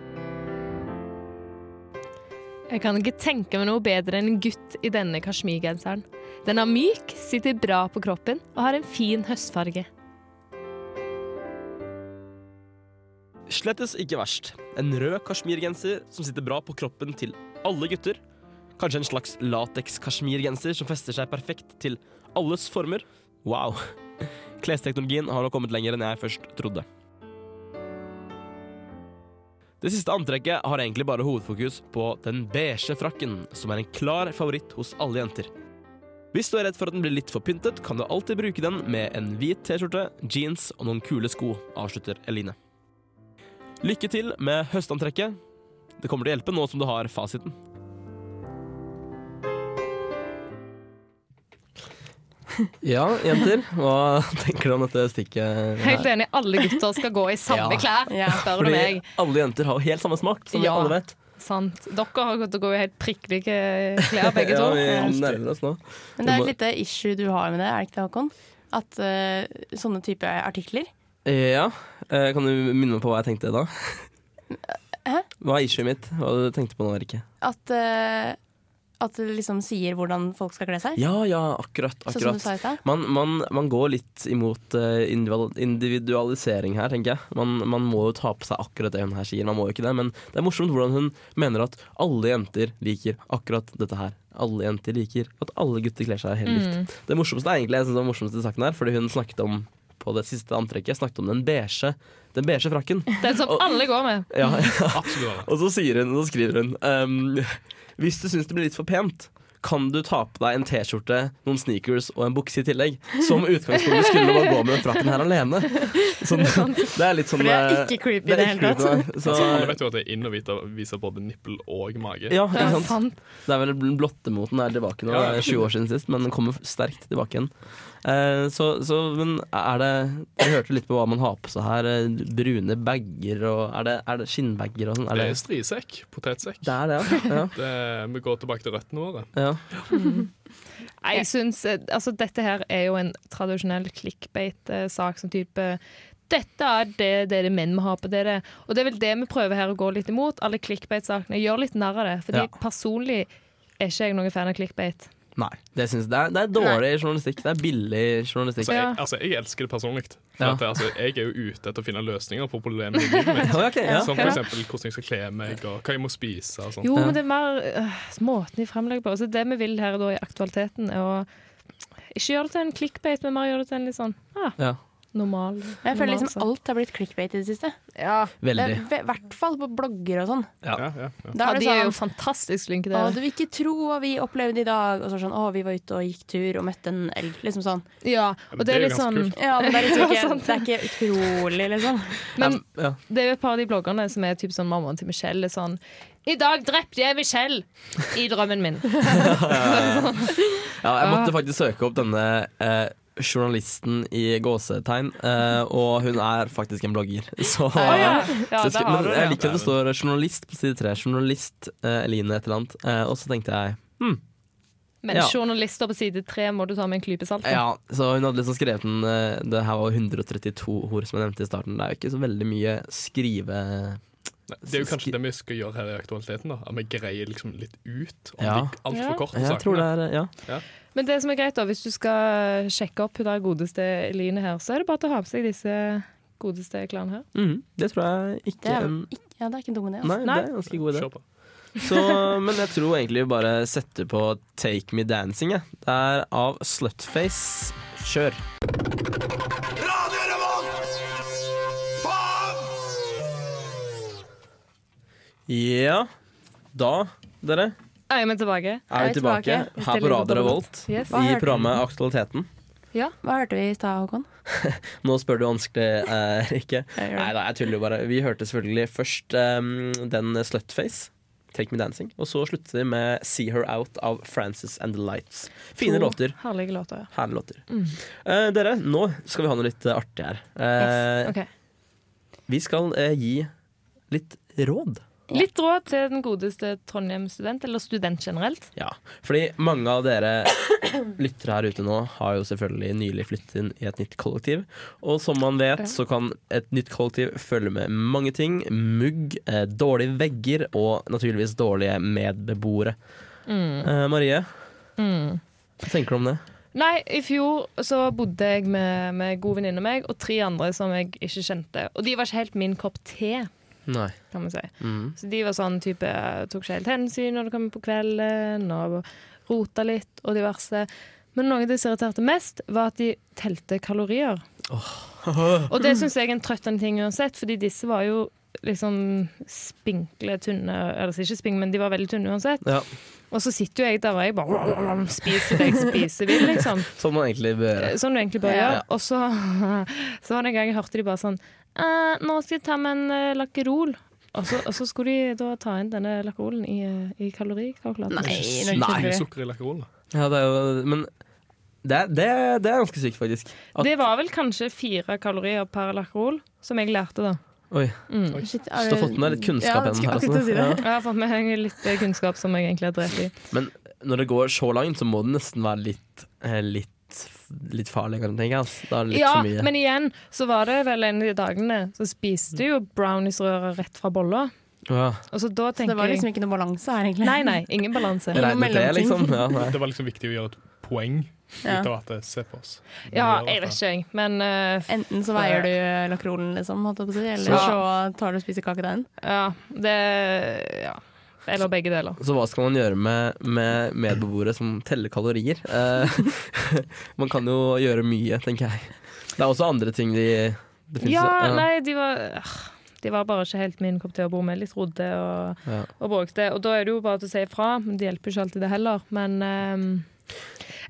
[SPEAKER 4] Jeg kan ikke tenke meg noe bedre enn en gutt i denne kasjmirgenseren. Den er myk, sitter bra på kroppen og har en fin høstfarge.
[SPEAKER 2] Slettes ikke verst. En rød kasjmirgenser som sitter bra på kroppen til alle gutter. Kanskje en slags lateks-kasjmirgenser som fester seg perfekt til alles former. Wow. Klesteknologien har nå kommet lenger enn jeg først trodde. Det siste antrekket har egentlig bare hovedfokus på den beige frakken, som er en klar favoritt hos alle jenter. Hvis du er redd for at den blir litt for pyntet, kan du alltid bruke den med en hvit T-skjorte, jeans og noen kule sko, avslutter Eline. Lykke til med høstantrekket. Det kommer til å hjelpe nå som du har fasiten. Ja, jenter. Hva tenker du om dette stikket?
[SPEAKER 4] Helt enig, alle gutter skal gå i samme
[SPEAKER 2] Ja.
[SPEAKER 4] klær,
[SPEAKER 5] Ja.
[SPEAKER 4] spør du
[SPEAKER 2] Fordi
[SPEAKER 4] meg.
[SPEAKER 2] alle jenter har helt samme smak, som
[SPEAKER 4] Ja.
[SPEAKER 2] vi alle vet.
[SPEAKER 4] Sant. Dere har gått og går i helt prikkelige klær, begge
[SPEAKER 5] sånn?
[SPEAKER 4] to.
[SPEAKER 2] Ja, vi nærmer oss nå.
[SPEAKER 5] Men det er et lite issue du har med det, er det ikke det, Håkon? At eh, sånne type artikler
[SPEAKER 2] Ja, eh, kan du minne meg på hva jeg tenkte da?
[SPEAKER 5] Hæ?
[SPEAKER 2] Hva er issuet mitt? Hva du tenkte på nå, Rikke?
[SPEAKER 5] At, eh, at det liksom sier hvordan folk skal kle seg.
[SPEAKER 2] Ja, ja, akkurat,
[SPEAKER 5] Sånn som du
[SPEAKER 2] akkurat.
[SPEAKER 5] sa i stad.
[SPEAKER 2] Man, man, man går litt imot eh, individual- individualisering her, tenker jeg. Man, man må jo ta på seg akkurat det hun her sier. Man må jo ikke det, men det er morsomt hvordan hun mener at alle jenter liker akkurat dette her. Alle jenter liker at alle gutter kler seg helt
[SPEAKER 5] Mm.
[SPEAKER 2] likt. Det morsomste er egentlig, jeg synes det var morsomst i saken her, fordi hun snakket om på det siste antrekket snakket om den beige, den beige frakken.
[SPEAKER 4] Den som sånn alle går med.
[SPEAKER 2] Ja,
[SPEAKER 6] Absolutt.
[SPEAKER 2] og så sier hun, og så skriver hun ehm, Hvis du syns det blir litt for pent kan du ta på deg en T-skjorte, noen sneakers og en bukse i tillegg? Som utgangspunktet skulle du bare gå med den frakken her alene. Så det er litt sånn
[SPEAKER 5] For det er
[SPEAKER 2] eh,
[SPEAKER 5] ikke creepy
[SPEAKER 2] det
[SPEAKER 5] i det
[SPEAKER 2] er ikke
[SPEAKER 5] hele tatt.
[SPEAKER 2] creepy, nei.
[SPEAKER 6] Altså, alle
[SPEAKER 2] Så,
[SPEAKER 6] vet jo at det er inn å vite- vise både nippel og mage.
[SPEAKER 2] ja, ikke
[SPEAKER 4] Ja,
[SPEAKER 2] sant?
[SPEAKER 4] sant.
[SPEAKER 2] Det er vel blottemoten er tilbake nå. Det er 20 år siden sist, men den kommer sterkt tilbake igjen. Eh, så, så men er det Dere hørte litt på hva man har på seg her. eh, Brune bager og Er det, er det skinnbager og sånn? Er
[SPEAKER 6] Det
[SPEAKER 2] det
[SPEAKER 6] er strisekk. Potetsekk.
[SPEAKER 2] det er det, ja.
[SPEAKER 6] Det, vi går tilbake til røttene våre.
[SPEAKER 2] ja, ja.
[SPEAKER 4] Nei, Jeg synes, eh, altså Dette her er jo en tradisjonell clickbait-sak. Som type Dette er det dere menn må ha på dere. Og det er vel det vi prøver her å gå litt imot. Alle clickbait-sakene. Gjør litt narr av det. Fordi
[SPEAKER 2] Ja.
[SPEAKER 4] personlig er ikke jeg noen fan av clickbait.
[SPEAKER 2] Nei, det, synes, det, er, det er dårlig journalistikk. Det er billig journalistikk.
[SPEAKER 6] Så jeg,
[SPEAKER 4] Ja.
[SPEAKER 6] altså, jeg elsker det personlig. For
[SPEAKER 2] Ja.
[SPEAKER 6] at, altså, jeg er jo ute etter å finne løsninger på problemer i livet mitt.
[SPEAKER 2] Ja, ok, ja.
[SPEAKER 6] Som for eksempel hvordan jeg skal kle meg, og hva jeg må spise. Og sånn. sånt.
[SPEAKER 4] Jo,
[SPEAKER 2] Ja.
[SPEAKER 4] men det er mer øh, måten de fremlegger på. Så det vi vil her da i aktualiteten, er å ikke gjøre det til en clickbait, men mer gjøre det til en litt sånn ah,
[SPEAKER 2] Ja,
[SPEAKER 4] normal
[SPEAKER 5] Men jeg føler
[SPEAKER 4] normal
[SPEAKER 5] liksom
[SPEAKER 4] sak.
[SPEAKER 5] alt har blitt clickbait i det siste.
[SPEAKER 2] veldig.
[SPEAKER 5] Det er I hvert fall på blogger og sånn.
[SPEAKER 6] Ja, ja, ja.
[SPEAKER 4] Ja,
[SPEAKER 5] Da er det
[SPEAKER 4] de er jo
[SPEAKER 5] sånn
[SPEAKER 4] fantastisk flinke
[SPEAKER 5] Å,
[SPEAKER 4] til
[SPEAKER 5] du
[SPEAKER 4] det.
[SPEAKER 5] vil ikke tro hva vi opplevde i dag. Og så er det sånn Å, vi var ute og gikk tur og møtte en elg. Liksom sånn.
[SPEAKER 4] Ja, og
[SPEAKER 6] Men
[SPEAKER 4] det er
[SPEAKER 6] det er
[SPEAKER 4] litt
[SPEAKER 6] jo ganske
[SPEAKER 4] sånn
[SPEAKER 6] kult.
[SPEAKER 5] Ja, men det er liksom
[SPEAKER 4] Ja,
[SPEAKER 5] ikke,
[SPEAKER 4] sant.
[SPEAKER 5] det er ikke utrolig, liksom.
[SPEAKER 4] Men
[SPEAKER 2] ja.
[SPEAKER 4] det er jo et par av de bloggerne som er typ sånn mammaen til Michelle. Er sånn I dag drepte jeg Michelle i drømmen min.
[SPEAKER 2] Ja, jeg måtte faktisk søke opp denne eh, journalisten i gåsetegn, eh, og hun er faktisk en blogger. Så,
[SPEAKER 4] ja. Ja,
[SPEAKER 2] så
[SPEAKER 4] det
[SPEAKER 2] sku-
[SPEAKER 4] har
[SPEAKER 2] men
[SPEAKER 4] du
[SPEAKER 2] jeg
[SPEAKER 4] det.
[SPEAKER 2] liker at det står journalist på side tre. Journalist eh, Eline et eller annet. Eh, og så tenkte jeg
[SPEAKER 4] Men
[SPEAKER 2] Ja.
[SPEAKER 4] journalister på side tre må du ta med en klype salt. da.
[SPEAKER 2] Ja, så hun hadde liksom skrevet den eh, Det her var 132 ord som jeg nevnte i starten. Det er jo ikke så veldig mye skrive...
[SPEAKER 6] Nei, Det er jo kanskje det vi skal gjøre her i aktualiteten. da At vi greier liksom litt ut om
[SPEAKER 2] Ja.
[SPEAKER 6] de altfor
[SPEAKER 4] Ja.
[SPEAKER 6] korte
[SPEAKER 2] Jeg tror det
[SPEAKER 6] sakene.
[SPEAKER 2] er Ja.
[SPEAKER 4] Men det som er greit da, hvis du skal sjekke opp hun der godeste Eline her, så er det bare til å ha med seg disse godeste klærne her.
[SPEAKER 2] Mhm, det tror jeg ikke
[SPEAKER 5] Det er,
[SPEAKER 2] en
[SPEAKER 5] ikke, ja, det er ikke en dum idé.
[SPEAKER 2] Nei,
[SPEAKER 5] Altså.
[SPEAKER 2] det er en ganske god idé.
[SPEAKER 6] Kjør på.
[SPEAKER 2] Så, men jeg tror egentlig vi bare setter på Take Me Dancing, jeg. Det er av Slutface. Kjør.
[SPEAKER 3] Radio Revolt! Faen!
[SPEAKER 2] Ja, da, dere,
[SPEAKER 4] Er jeg med tilbake?
[SPEAKER 2] er vi
[SPEAKER 5] Er vi
[SPEAKER 2] tilbake
[SPEAKER 5] tilbake?
[SPEAKER 2] her på Radio Revolt
[SPEAKER 4] Yes.
[SPEAKER 2] i programmet Aktualiteten.
[SPEAKER 5] Hva hørte vi i stad, Håkon?
[SPEAKER 2] Nå spør du vanskelig, eh, ikke?
[SPEAKER 5] Jeg gjør det.
[SPEAKER 2] Nei da, jeg tuller jo bare. Vi hørte selvfølgelig først eh, den Slutface, Take Me Dancing, og så sluttet vi med See Her Out av Frances and the Lights. Fine
[SPEAKER 4] To
[SPEAKER 2] låter.
[SPEAKER 4] Herlige låter, ja.
[SPEAKER 2] Herlige låter.
[SPEAKER 5] Mm.
[SPEAKER 2] Eh, dere, nå skal vi ha noe litt eh, artig her. Eh,
[SPEAKER 4] Ok.
[SPEAKER 2] Vi skal eh, gi litt råd.
[SPEAKER 4] Litt råd til den godeste Trondheim-student, eller student generelt.
[SPEAKER 2] Ja, fordi mange av dere lyttere her ute nå har jo selvfølgelig nylig flyttet inn i et nytt kollektiv. Og som man vet, så kan et nytt kollektiv følge med mange ting. Mugg, eh, dårlige vegger og naturligvis dårlige medbeboere.
[SPEAKER 5] Mm.
[SPEAKER 2] Eh, Marie, hva tenker du om det?
[SPEAKER 4] Nei, i fjor så bodde jeg med, med god venninne og meg, og tre andre som jeg ikke kjente. Og de var ikke helt min kopp te,
[SPEAKER 2] Nei. Mm.
[SPEAKER 4] kan man si. Så de var sånn type Tok ikke helt hensyn når det kom på kvelden, og rota litt og diverse. Men noe av det som irriterte mest, var at de telte kalorier. og det syns jeg er en trøttende ting uansett, fordi disse var jo liksom spinkle, tynne Eller ikke spink, men de var veldig tynne uansett.
[SPEAKER 2] Ja,
[SPEAKER 4] Og så sitter jo jeg der og jeg bare spiser det jeg spiser vil, liksom.
[SPEAKER 2] som man egentlig bør gjøre.
[SPEAKER 4] Som Eh,
[SPEAKER 5] Eh,
[SPEAKER 4] sånn du egentlig bør gjøre. Og så, så var det en gang jeg hørte de bare sånn «Eh, Nå skal jeg ta med en eh, lakkerol. Og så, og så skulle de da ta inn denne lakkerolen i, eh, i kalorikalkulatoren.
[SPEAKER 5] Nei,
[SPEAKER 6] Sykt
[SPEAKER 5] nå
[SPEAKER 6] mye
[SPEAKER 5] kjører vi.
[SPEAKER 6] sukker i lakkerolen. da.
[SPEAKER 2] Ja, det er jo Men det, er- det, er- det er ganske sykt, faktisk. At,
[SPEAKER 4] Det var vel kanskje fire kalorier per lakkerol, som jeg lærte da.
[SPEAKER 2] oi,
[SPEAKER 5] Shit,
[SPEAKER 2] så
[SPEAKER 5] er
[SPEAKER 2] du har fått med deg litt kunnskap
[SPEAKER 5] Ja,
[SPEAKER 2] gjennom
[SPEAKER 5] skulle
[SPEAKER 2] her. altså.
[SPEAKER 5] akkurat
[SPEAKER 2] også.
[SPEAKER 5] si det.
[SPEAKER 2] Ja.
[SPEAKER 4] Jeg har fått med meg litt eh, kunnskap som jeg egentlig har drept i.
[SPEAKER 2] Men når det går så langt, så må det nesten være litt, eh, litt, litt farlig, kan jeg tenke. Altså. Da er det litt
[SPEAKER 4] Ja,
[SPEAKER 2] for mye.
[SPEAKER 4] men igjen så var det vel en av de dagene så spiste du jo browniesrøra rett fra bolla.
[SPEAKER 2] ja.
[SPEAKER 4] Og så da
[SPEAKER 5] Det
[SPEAKER 4] tenker
[SPEAKER 5] var liksom
[SPEAKER 4] jeg
[SPEAKER 5] ikke noe balanse her, egentlig.
[SPEAKER 4] Nei, nei, ingen balanse.
[SPEAKER 5] Nei.
[SPEAKER 2] Regnet det, liksom. Ja, nei.
[SPEAKER 6] Det var liksom viktig å gjøre et poeng
[SPEAKER 5] Ja.
[SPEAKER 6] ut av at det- Se på oss. Vi
[SPEAKER 4] Ja, jeg
[SPEAKER 6] gjør dette.
[SPEAKER 4] vet ikke, jeg. Men eh,
[SPEAKER 5] Enten så veier du lakrolen, liksom, holdt jeg på å si, eller
[SPEAKER 4] Ja.
[SPEAKER 5] så tar du og spiser kakedeigen.
[SPEAKER 4] Ja, det Ja. Eller begge deler.
[SPEAKER 2] Så hva skal man gjøre med, med medbeboere som teller kalorier? Eh, man kan jo gjøre mye, tenker jeg. Det er også andre ting de det finnes,
[SPEAKER 4] Ja, nei, de var øh, De var bare ikke helt min kopp te å bo med. Litt rodde og,
[SPEAKER 2] Ja.
[SPEAKER 4] og bråkte. Og da er det jo bare til å si ifra. Men det hjelper jo ikke alltid, det heller. Men ehm,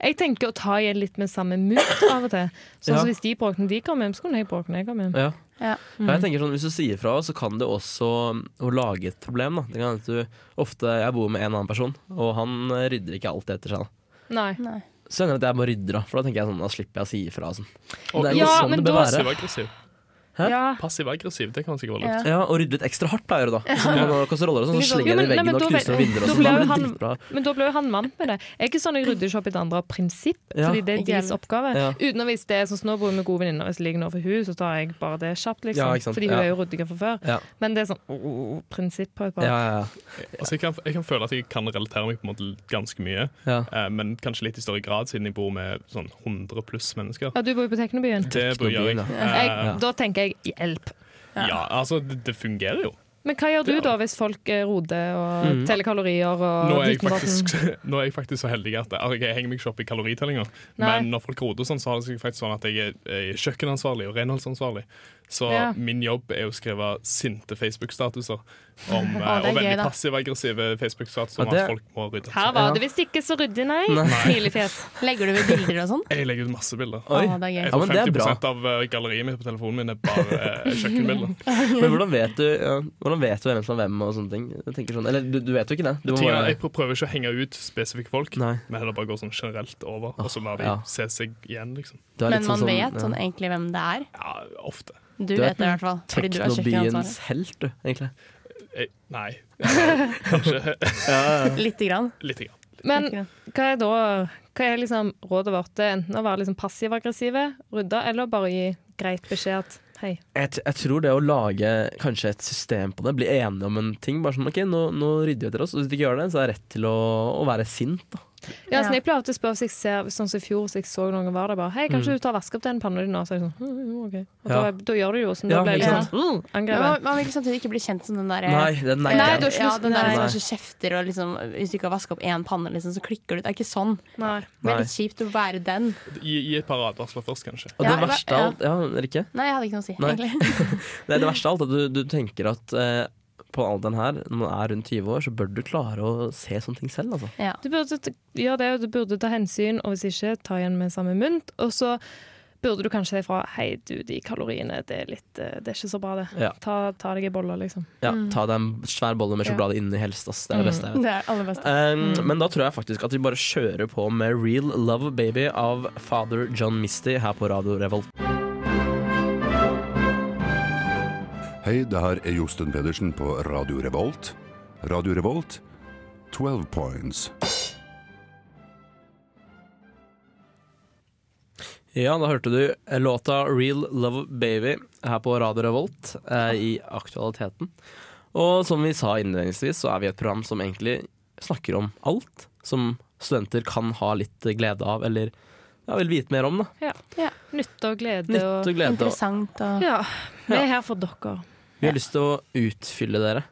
[SPEAKER 4] jeg tenker å ta igjen litt med samme mut av og til. Sånn
[SPEAKER 2] Ja.
[SPEAKER 4] som hvis de bråkte når de kom hjem, så kunne jeg bråke når jeg kom hjem.
[SPEAKER 2] Ja.
[SPEAKER 5] Ja.
[SPEAKER 2] Ja,
[SPEAKER 4] Mm.
[SPEAKER 2] jeg tenker sånn, Hvis du sier fra, så kan det også um, å lage et problem. Da. Det kan hende at du ofte Jeg bor med en annen person, og han eh, rydder ikke alltid etter seg. da.
[SPEAKER 4] Nei.
[SPEAKER 2] Så hender det at jeg må rydde, da, for da tenker jeg sånn, da slipper jeg å si ifra. og Sånn.
[SPEAKER 6] Og
[SPEAKER 2] Det er jo
[SPEAKER 4] Ja,
[SPEAKER 2] sånn
[SPEAKER 4] men
[SPEAKER 2] det bør
[SPEAKER 4] da-
[SPEAKER 2] være.
[SPEAKER 6] passiv-aggressiv.
[SPEAKER 2] Hæ?
[SPEAKER 4] Ja.
[SPEAKER 6] Passiv-aggressiv, det kan sikkert være lurt.
[SPEAKER 2] Ja, Og rydde litt ekstra hardt pleier du da. Sånn, når dere roller, og sånn,
[SPEAKER 4] Litt
[SPEAKER 2] så
[SPEAKER 4] sånn-
[SPEAKER 2] slenger jeg den i
[SPEAKER 4] Ja, men- nei,
[SPEAKER 2] veggen
[SPEAKER 4] men
[SPEAKER 2] og
[SPEAKER 4] da
[SPEAKER 2] knuser
[SPEAKER 4] ble-
[SPEAKER 2] noen vinduer.
[SPEAKER 4] da
[SPEAKER 2] og sånn,
[SPEAKER 4] ble
[SPEAKER 2] da blir
[SPEAKER 4] jo
[SPEAKER 2] det
[SPEAKER 4] han-
[SPEAKER 2] dritbra.
[SPEAKER 4] Men da ble jo han vant med det. Jeg er ikke sånn jeg rydder ikke opp i det andre av prinsipp,
[SPEAKER 2] Ja.
[SPEAKER 4] fordi det er
[SPEAKER 5] Ikke
[SPEAKER 4] deres
[SPEAKER 5] heller.
[SPEAKER 4] oppgave.
[SPEAKER 2] Ja.
[SPEAKER 4] Uten å vise det, sånn som nå bor jeg med gode venninner, hvis jeg ligger over henne, så tar jeg bare det kjapt, liksom.
[SPEAKER 2] Ja, ikke sant.
[SPEAKER 4] Fordi hun
[SPEAKER 2] Ja.
[SPEAKER 4] er jo ryddigere fra før.
[SPEAKER 2] Ja.
[SPEAKER 4] Men det er sånn oh, oh, oh, prinsipp. har jeg
[SPEAKER 2] Ja,
[SPEAKER 4] bare.
[SPEAKER 2] ja,
[SPEAKER 6] Altså, jeg, kan, jeg kan føle at jeg kan relatere meg på en måte ganske mye,
[SPEAKER 2] ja.
[SPEAKER 6] eh, men kanskje litt i større grad, siden jeg bor med sånn 100 pluss mennesker.
[SPEAKER 4] Ja, du bor jo på Teknobyen.
[SPEAKER 6] Det bør jeg.
[SPEAKER 2] Teknobyen,
[SPEAKER 4] Jeg,
[SPEAKER 6] Eh,
[SPEAKER 2] Ja.
[SPEAKER 4] Da tenker jeg hjelp.
[SPEAKER 6] ja, altså, det, det fungerer jo.
[SPEAKER 4] Men hva gjør du da hvis folk eh, roter og
[SPEAKER 2] Mm.
[SPEAKER 4] teller kalorier og
[SPEAKER 6] Nå er, jeg
[SPEAKER 4] driter på maten?
[SPEAKER 6] faktisk, nå er jeg faktisk så heldig at altså, jeg henger meg ikke opp i kaloritellinga.
[SPEAKER 4] Nei.
[SPEAKER 6] Men når folk roter sånn, så har det seg faktisk sånn at jeg er, jeg er kjøkkenansvarlig og renholdsansvarlig. Så
[SPEAKER 4] Ja.
[SPEAKER 6] min jobb er å skrive sinte Facebook-statuser. Om, eh,
[SPEAKER 5] det er
[SPEAKER 6] og
[SPEAKER 5] gøy,
[SPEAKER 6] veldig
[SPEAKER 5] da.
[SPEAKER 6] passiv-aggressive Facebook-statuser
[SPEAKER 2] Ja,
[SPEAKER 6] om
[SPEAKER 2] det-
[SPEAKER 6] at folk må rydde.
[SPEAKER 4] Her var det visst ikke så ryddig, nei. Smilefjes.
[SPEAKER 5] Legger du ved bilder og sånn?
[SPEAKER 6] Jeg legger ut masse bilder.
[SPEAKER 2] Oi.
[SPEAKER 5] Å, det er
[SPEAKER 6] Jeg
[SPEAKER 5] gøy.
[SPEAKER 2] Ja,
[SPEAKER 6] tror
[SPEAKER 2] men det er
[SPEAKER 6] 50 av eh, galleriet mitt på telefonen min er bare eh, kjøkkenbilder.
[SPEAKER 2] Men hvordan vet du ja, Hvordan vet du hvem som er hvem og sånne ting? Jeg tenker sånn, eller du, du vet jo ikke det. Du må
[SPEAKER 6] Ting er,
[SPEAKER 2] bare
[SPEAKER 6] Jeg pr- prøver ikke å henge ut spesifikke folk,
[SPEAKER 2] Nei. Ah,
[SPEAKER 6] men heller bare gå sånn generelt over, og så lar de
[SPEAKER 2] Ja.
[SPEAKER 6] se seg igjen, liksom.
[SPEAKER 2] Du er litt
[SPEAKER 5] Men man
[SPEAKER 2] som-
[SPEAKER 5] vet
[SPEAKER 2] ja,
[SPEAKER 5] sånn egentlig hvem det er.
[SPEAKER 6] Ja, ofte.
[SPEAKER 5] Du
[SPEAKER 2] Du er
[SPEAKER 5] vet det i hvert fall. Fordi du er
[SPEAKER 2] Teknobyens
[SPEAKER 5] kjøkkenansvarlig.
[SPEAKER 2] helt, du, egentlig.
[SPEAKER 6] Eh, nei. Eller, Kanskje
[SPEAKER 5] Lite grann.
[SPEAKER 6] lite grann.
[SPEAKER 4] Men
[SPEAKER 5] Lite grann.
[SPEAKER 4] hva er da hva er liksom rådet vårt? Det er enten å være liksom passiv-aggressive, rydde, eller bare gi greit beskjed at hei.
[SPEAKER 2] Jeg, t- jeg tror det å lage kanskje et system på det, bli enige om en ting Bare sånn OK, nå, nå rydder vi etter oss, og hvis vi ikke gjør det, så er det rett til å, å være sint, da.
[SPEAKER 4] Ja,
[SPEAKER 5] Ja.
[SPEAKER 4] sånn, jeg pleier alltid å spørre hvis jeg ser sånn som i fjor, så jeg så noen var der bare Hei, kanskje du tar og vasker opp den panna di nå? Så er jeg sånn «Hm, jo, OK. Og da,
[SPEAKER 2] Mm. Ja.
[SPEAKER 4] da gjør du jo sånn. Da
[SPEAKER 2] Ja,
[SPEAKER 4] blir jeg
[SPEAKER 5] ikke
[SPEAKER 4] liksom sånn, «Mm»,
[SPEAKER 5] Men
[SPEAKER 4] angrepet.
[SPEAKER 5] man, man vil samtidig ikke bli kjent som den der
[SPEAKER 2] Nei, det er nei.
[SPEAKER 5] ja,
[SPEAKER 4] Nei,
[SPEAKER 5] den
[SPEAKER 4] du har
[SPEAKER 5] der
[SPEAKER 4] ikke lyst-
[SPEAKER 5] som
[SPEAKER 2] nei.
[SPEAKER 5] kanskje kjefter og liksom Hvis du ikke har vaska opp én panne, liksom, så klikker du ut. Det er ikke sånn.
[SPEAKER 4] Nei.
[SPEAKER 5] Det
[SPEAKER 2] Nei.
[SPEAKER 5] er litt kjipt å være den.
[SPEAKER 6] Gi, gi et par advarsler først, kanskje.
[SPEAKER 2] Og det
[SPEAKER 5] Ja, jeg var-
[SPEAKER 2] verste av alt Ja, Rikke?
[SPEAKER 5] Nei, jeg hadde ikke noe å si,
[SPEAKER 2] Nei.
[SPEAKER 5] egentlig.
[SPEAKER 2] Det, det verste av alt er at du, du tenker at eh, på alderen her, når man er rundt 20 år, så bør du klare å se sånne ting selv, altså.
[SPEAKER 5] Ja.
[SPEAKER 4] Du burde t- gjøre det, og du burde ta hensyn, og hvis ikke, ta igjen med samme mynt. Og så burde du kanskje si fra Hei, du, de kaloriene, det er litt eh, Det er ikke så bra, det.
[SPEAKER 2] Ja.
[SPEAKER 4] Ta, ta deg i boller, liksom.
[SPEAKER 2] Ja, Ta deg en svær bolle med sjokolade inni helst, ass. Det er det beste jeg vet.
[SPEAKER 5] Mm. Det er aller beste. Mm.
[SPEAKER 2] Um, Men da tror jeg faktisk at vi bare kjører på med Real Love Baby av Father John Misty her på Radio Revolt.
[SPEAKER 8] Hei, det her er Josten Pedersen på Radio Revolt. Radio Revolt, 12 points.
[SPEAKER 2] Ja, da hørte du låta Real Love Baby her på Radio Revolt eh, i Aktualiteten. Og som vi sa innledningsvis, så er vi et program som egentlig snakker om alt som studenter kan ha litt glede av, eller ja, vil vite mer om. da.
[SPEAKER 4] Nytte og glede
[SPEAKER 2] Nytt og glede. Og
[SPEAKER 5] Interessant og
[SPEAKER 4] Ja. Vi er her for dere.
[SPEAKER 2] vi har lyst til å utfylle dere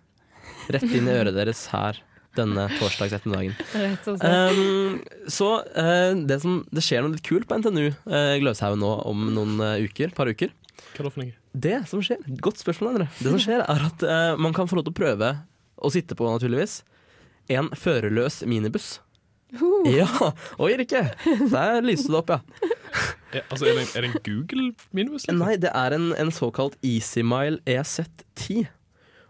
[SPEAKER 2] rett inn i øret deres her denne torsdags ettermiddagen.
[SPEAKER 4] Rett og slett.
[SPEAKER 2] Um, så eh, det, som, det skjer noe litt kult på NTNU uh, Gløshaugen nå om noen eh, uker, par uker.
[SPEAKER 6] Hva da for noe?
[SPEAKER 2] Det som skjer, godt spørsmål, Endre. Det som skjer er at eh, man kan få lov til å prøve å sitte på, naturligvis, en førerløs minibuss. Ja! Oi, Rikke! Der lyste det opp, ja.
[SPEAKER 6] Er, altså, er, det, en- er det en Google-minibus? liksom?
[SPEAKER 2] Nei, det er en, en såkalt EasyMile EZ10.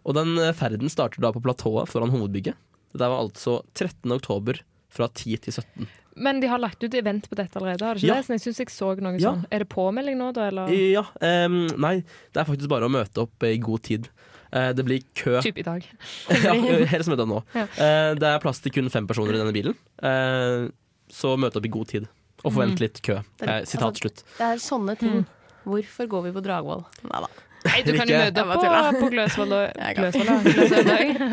[SPEAKER 2] Og den eh, ferden starter da på platået foran hovedbygget. Dette var altså 13. oktober fra 10 til 17.
[SPEAKER 4] Men de har lagt ut event på dette allerede, har de ikke
[SPEAKER 2] Ja.
[SPEAKER 4] det? Så jeg syns jeg så noe
[SPEAKER 2] Ja.
[SPEAKER 4] sånn. Er det påmelding nå, da, eller?
[SPEAKER 2] Ja, em, nei, det er faktisk bare å møte opp i god tid. Eh, det blir kø.
[SPEAKER 4] Typ i dag.
[SPEAKER 2] ja, helst møte opp nå.
[SPEAKER 4] Ja.
[SPEAKER 2] Eh, det er plass til kun fem personer i denne bilen, eh, så møte opp i god tid. Og forvent
[SPEAKER 5] Mm.
[SPEAKER 2] litt kø. Eh, sitat slutt.
[SPEAKER 5] Det er sånne ting. Hvorfor går vi på Dragvoll? Mm. Nei da.
[SPEAKER 4] Nei, du kan jo
[SPEAKER 2] Rikke.
[SPEAKER 4] møte opp
[SPEAKER 5] Jeg
[SPEAKER 4] på,
[SPEAKER 5] bare
[SPEAKER 4] på Gløsvoll og
[SPEAKER 5] Jeg kan.
[SPEAKER 4] Gløsvoll og Gløsvoll.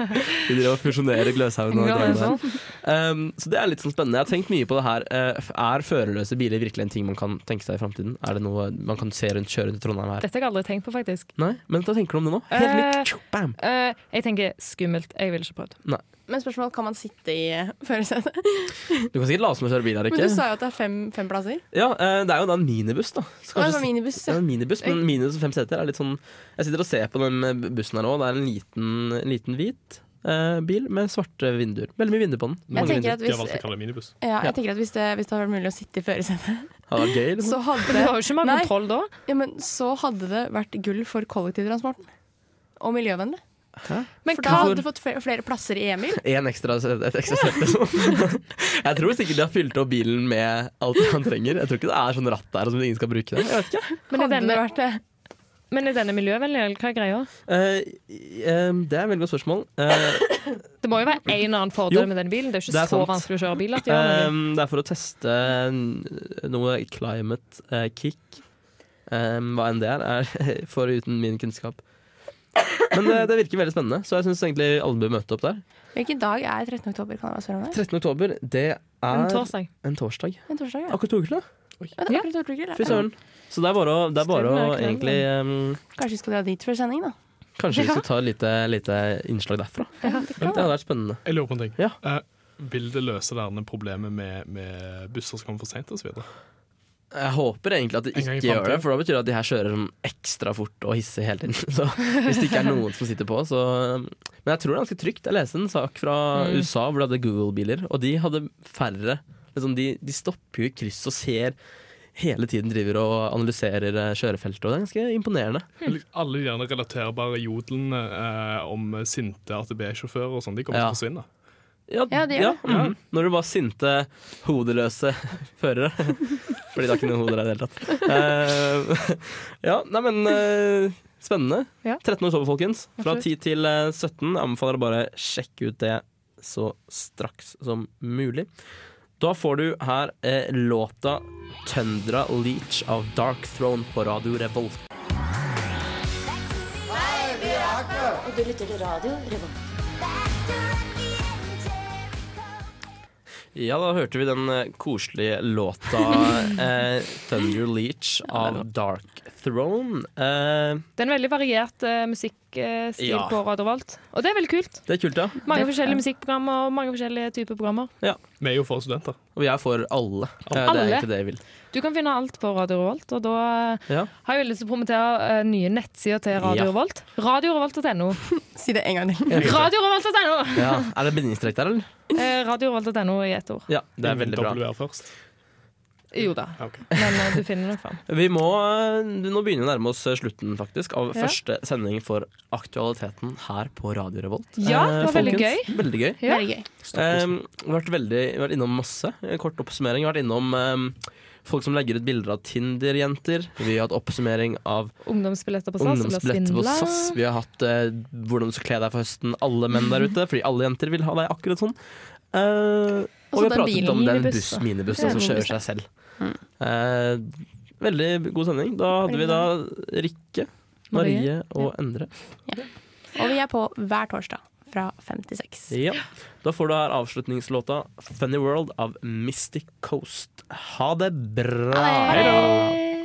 [SPEAKER 2] Vi driver og fusjonerer Gløshaugen og Dragvoll. Em, så det er litt sånn spennende. Jeg har tenkt mye på det her. Eh, er førerløse biler virkelig en ting man kan tenke seg i framtiden? Er det noe man kan se rundt, kjøre rundt i Trondheim her?
[SPEAKER 4] Dette har jeg aldri tenkt på, faktisk.
[SPEAKER 2] Nei, men hva tenker du om det nå? Helt litt tjo, bam!
[SPEAKER 4] Eh, jeg tenker skummelt. Jeg ville ikke prøvd.
[SPEAKER 5] Men spørsmål, kan man sitte i eh, førersetet?
[SPEAKER 2] Du kan sikkert late som å kjøre bil her,
[SPEAKER 5] Men du
[SPEAKER 2] ikke?
[SPEAKER 5] sa jo at det er fem, fem plasser.
[SPEAKER 2] Ja, eh, det er jo da en minibuss, da. Så
[SPEAKER 5] Å, det
[SPEAKER 2] kanskje
[SPEAKER 5] var minibuss.
[SPEAKER 2] Det er
[SPEAKER 5] ja.
[SPEAKER 2] en minibuss, men minus fem seter er litt sånn Jeg sitter og ser på den eh, bussen her nå. Det er en liten, en liten hvit eh, bil med svarte vinduer. Veldig mye vinduer på den.
[SPEAKER 5] Jeg
[SPEAKER 2] Mange
[SPEAKER 5] tenker
[SPEAKER 2] vinduer.
[SPEAKER 5] at
[SPEAKER 6] De har
[SPEAKER 5] hvis,
[SPEAKER 6] valgt å kalle det minibus.
[SPEAKER 5] ja,
[SPEAKER 2] Ja.
[SPEAKER 5] jeg tenker at hvis, det, hvis det hadde vært mulig å sitte i førersetet,
[SPEAKER 2] Ja, det er gøy, liksom.
[SPEAKER 5] så, hadde
[SPEAKER 4] Du har
[SPEAKER 5] det-
[SPEAKER 4] jo ikke mer
[SPEAKER 5] Nei.
[SPEAKER 4] kontroll da.
[SPEAKER 5] ja, men så hadde det vært gull for kollektivtransporten. Og miljøvennlig.
[SPEAKER 4] Men
[SPEAKER 5] For da
[SPEAKER 4] hva
[SPEAKER 5] hadde du fått fe- flere plasser i Emil.
[SPEAKER 2] En ekstra, et ekstra sete, liksom. Jeg tror sikkert de har fylt opp bilen med alt han trenger. Jeg tror ikke det er sånn ratt der som ingen skal bruke det. Jeg vet ikke.
[SPEAKER 4] Men er
[SPEAKER 5] hadde
[SPEAKER 4] denne,
[SPEAKER 5] det vært det.
[SPEAKER 4] Men er denne miljøvennlig, eller hva er greia?
[SPEAKER 2] Eh, eh, det er et veldig godt spørsmål. Eh,
[SPEAKER 4] Det må jo være en eller annen
[SPEAKER 2] Jo,
[SPEAKER 4] fordel med denne bilen. Det er ikke
[SPEAKER 2] det er
[SPEAKER 4] så
[SPEAKER 2] sant.
[SPEAKER 4] vanskelig å kjøre bil. At de gjør noe.
[SPEAKER 2] Um, det er for å teste n- noe climate eh, kick. Um, hva enn det er, er foruten min kunnskap. Men eh, det, det virker veldig spennende, så jeg syns egentlig alle bør møte opp der.
[SPEAKER 5] Hvilken dag er 13. oktober? Kan jeg bare spørre om det?
[SPEAKER 2] 13. oktober, det er
[SPEAKER 4] en torsdag.
[SPEAKER 2] en torsdag.
[SPEAKER 5] En torsdag, ja.
[SPEAKER 2] Akkurat to uker til, da.
[SPEAKER 5] Ja, det er akkurat torsdag, eller?
[SPEAKER 2] Fy søren. Så det er bare å, det er bare å
[SPEAKER 4] Skriv ned
[SPEAKER 2] egentlig um,
[SPEAKER 5] Kanskje vi skal dra dit før sending, da.
[SPEAKER 2] Kanskje vi skal ta et lite, lite innslag derfra. Det hadde vært spennende.
[SPEAKER 6] Jeg lurer på en ting.
[SPEAKER 2] Ja.
[SPEAKER 6] Eh, vil det løse derne problemet med, med busser som kommer for seint osv.?
[SPEAKER 2] Jeg håper egentlig at de
[SPEAKER 6] En gang i
[SPEAKER 2] ikke gjør det,
[SPEAKER 6] fremtiden.
[SPEAKER 2] for da betyr det at de her kjører sånn ekstra fort og hissig hele tiden. Så hvis det ikke er noen som sitter på, så Men jeg tror det er ganske trygt. Jeg leste en sak fra
[SPEAKER 6] Mm.
[SPEAKER 2] USA hvor de hadde Google-biler, og de hadde færre liksom de, de stopper jo i kryss og ser hele tiden driver og analyserer eh, kjørefeltet, og det er ganske imponerende.
[SPEAKER 6] Alle de gjerne relaterbare jodelene eh, om sinte AtB-sjåfører og sånn, de kommer
[SPEAKER 2] Ja.
[SPEAKER 6] til å forsvinne.
[SPEAKER 5] Ja, det gjør det.
[SPEAKER 2] mhm. Når du bare sinte, hodeløse førere. Fordi det har ikke noen hoder her i det hele tatt. Eh, ja, nei, men eh, spennende.
[SPEAKER 4] Ja.
[SPEAKER 2] 13 oktober, folkens. Fra
[SPEAKER 4] Absolutt.
[SPEAKER 2] 10 til eh, 17. Anbefaler å bare sjekke ut det så straks som mulig. Da får du her eh, låta 'Tøndra Leach' av Dark Throne på Radio Revolt. Ja, da hørte vi den eh, koselige låta eh, 'Thunder Leach' av Dark Throne. Eh,
[SPEAKER 4] Det er en veldig variert eh, musikkstil
[SPEAKER 2] Ja.
[SPEAKER 4] på Radio Volt. Og det er veldig kult.
[SPEAKER 2] det er kult, ja.
[SPEAKER 4] Mange
[SPEAKER 5] Det-
[SPEAKER 4] forskjellige
[SPEAKER 5] ja.
[SPEAKER 4] musikkprogrammer og mange forskjellige typer programmer.
[SPEAKER 6] Vi er jo for studenter.
[SPEAKER 2] Og vi er for alle. Eh, det er
[SPEAKER 4] Alle?
[SPEAKER 2] egentlig det jeg vil.
[SPEAKER 4] Du kan finne alt på Radio Revolt, og da eh,
[SPEAKER 2] Ja.
[SPEAKER 4] har jeg jo lyst til å promotere eh, nye nettsider til Radio
[SPEAKER 2] Ja.
[SPEAKER 4] Revolt. RadioRevolt.no.
[SPEAKER 5] Si det en gang til.
[SPEAKER 4] RadioRevolt.no!
[SPEAKER 2] Ja. Er det bindingsstrek der, eller?
[SPEAKER 4] Eh, RadioRevolt.no i ett ord.
[SPEAKER 2] Ja, det er veldig bra.
[SPEAKER 6] W først.
[SPEAKER 4] Jo da,
[SPEAKER 6] Ok.
[SPEAKER 4] men eh, du finner det fram.
[SPEAKER 2] Vi må eh, nå begynne å nærme oss eh, slutten faktisk av
[SPEAKER 4] Ja.
[SPEAKER 2] første sending for Aktualiteten her på Radio Revolt.
[SPEAKER 4] Ja, det var
[SPEAKER 2] Eh,
[SPEAKER 4] veldig
[SPEAKER 2] folkens, Veldig gøy.
[SPEAKER 4] Ja.
[SPEAKER 5] Veldig gøy.
[SPEAKER 2] Um, vært, veldig, vært innom masse. Kort oppsummering. Vært innom ehm, folk som legger ut bilder av Tinder-jenter. Vi har hatt oppsummering av
[SPEAKER 4] Ungdomsbilletter på SAS som blir
[SPEAKER 2] ungdomsbilletter på
[SPEAKER 4] svindla.
[SPEAKER 2] SAS. Vi har hatt eh, hvordan du skal kle deg for høsten. Alle menn der ute, fordi alle jenter vil ha deg akkurat sånn. Eh, og vi
[SPEAKER 5] så
[SPEAKER 2] har
[SPEAKER 5] den
[SPEAKER 2] pratet
[SPEAKER 5] bilen,
[SPEAKER 2] om den buss,
[SPEAKER 5] minibussen.
[SPEAKER 2] minibussen som kjører seg selv. Eh, veldig god sending. Da hadde vi da Rikke, Marie og Endre.
[SPEAKER 5] Og vi er på hver torsdag fra fem til seks.
[SPEAKER 2] Ja. Da får du her avslutningslåta 'Funny World' av Mystic Coast. Ha det bra!
[SPEAKER 5] Hei da!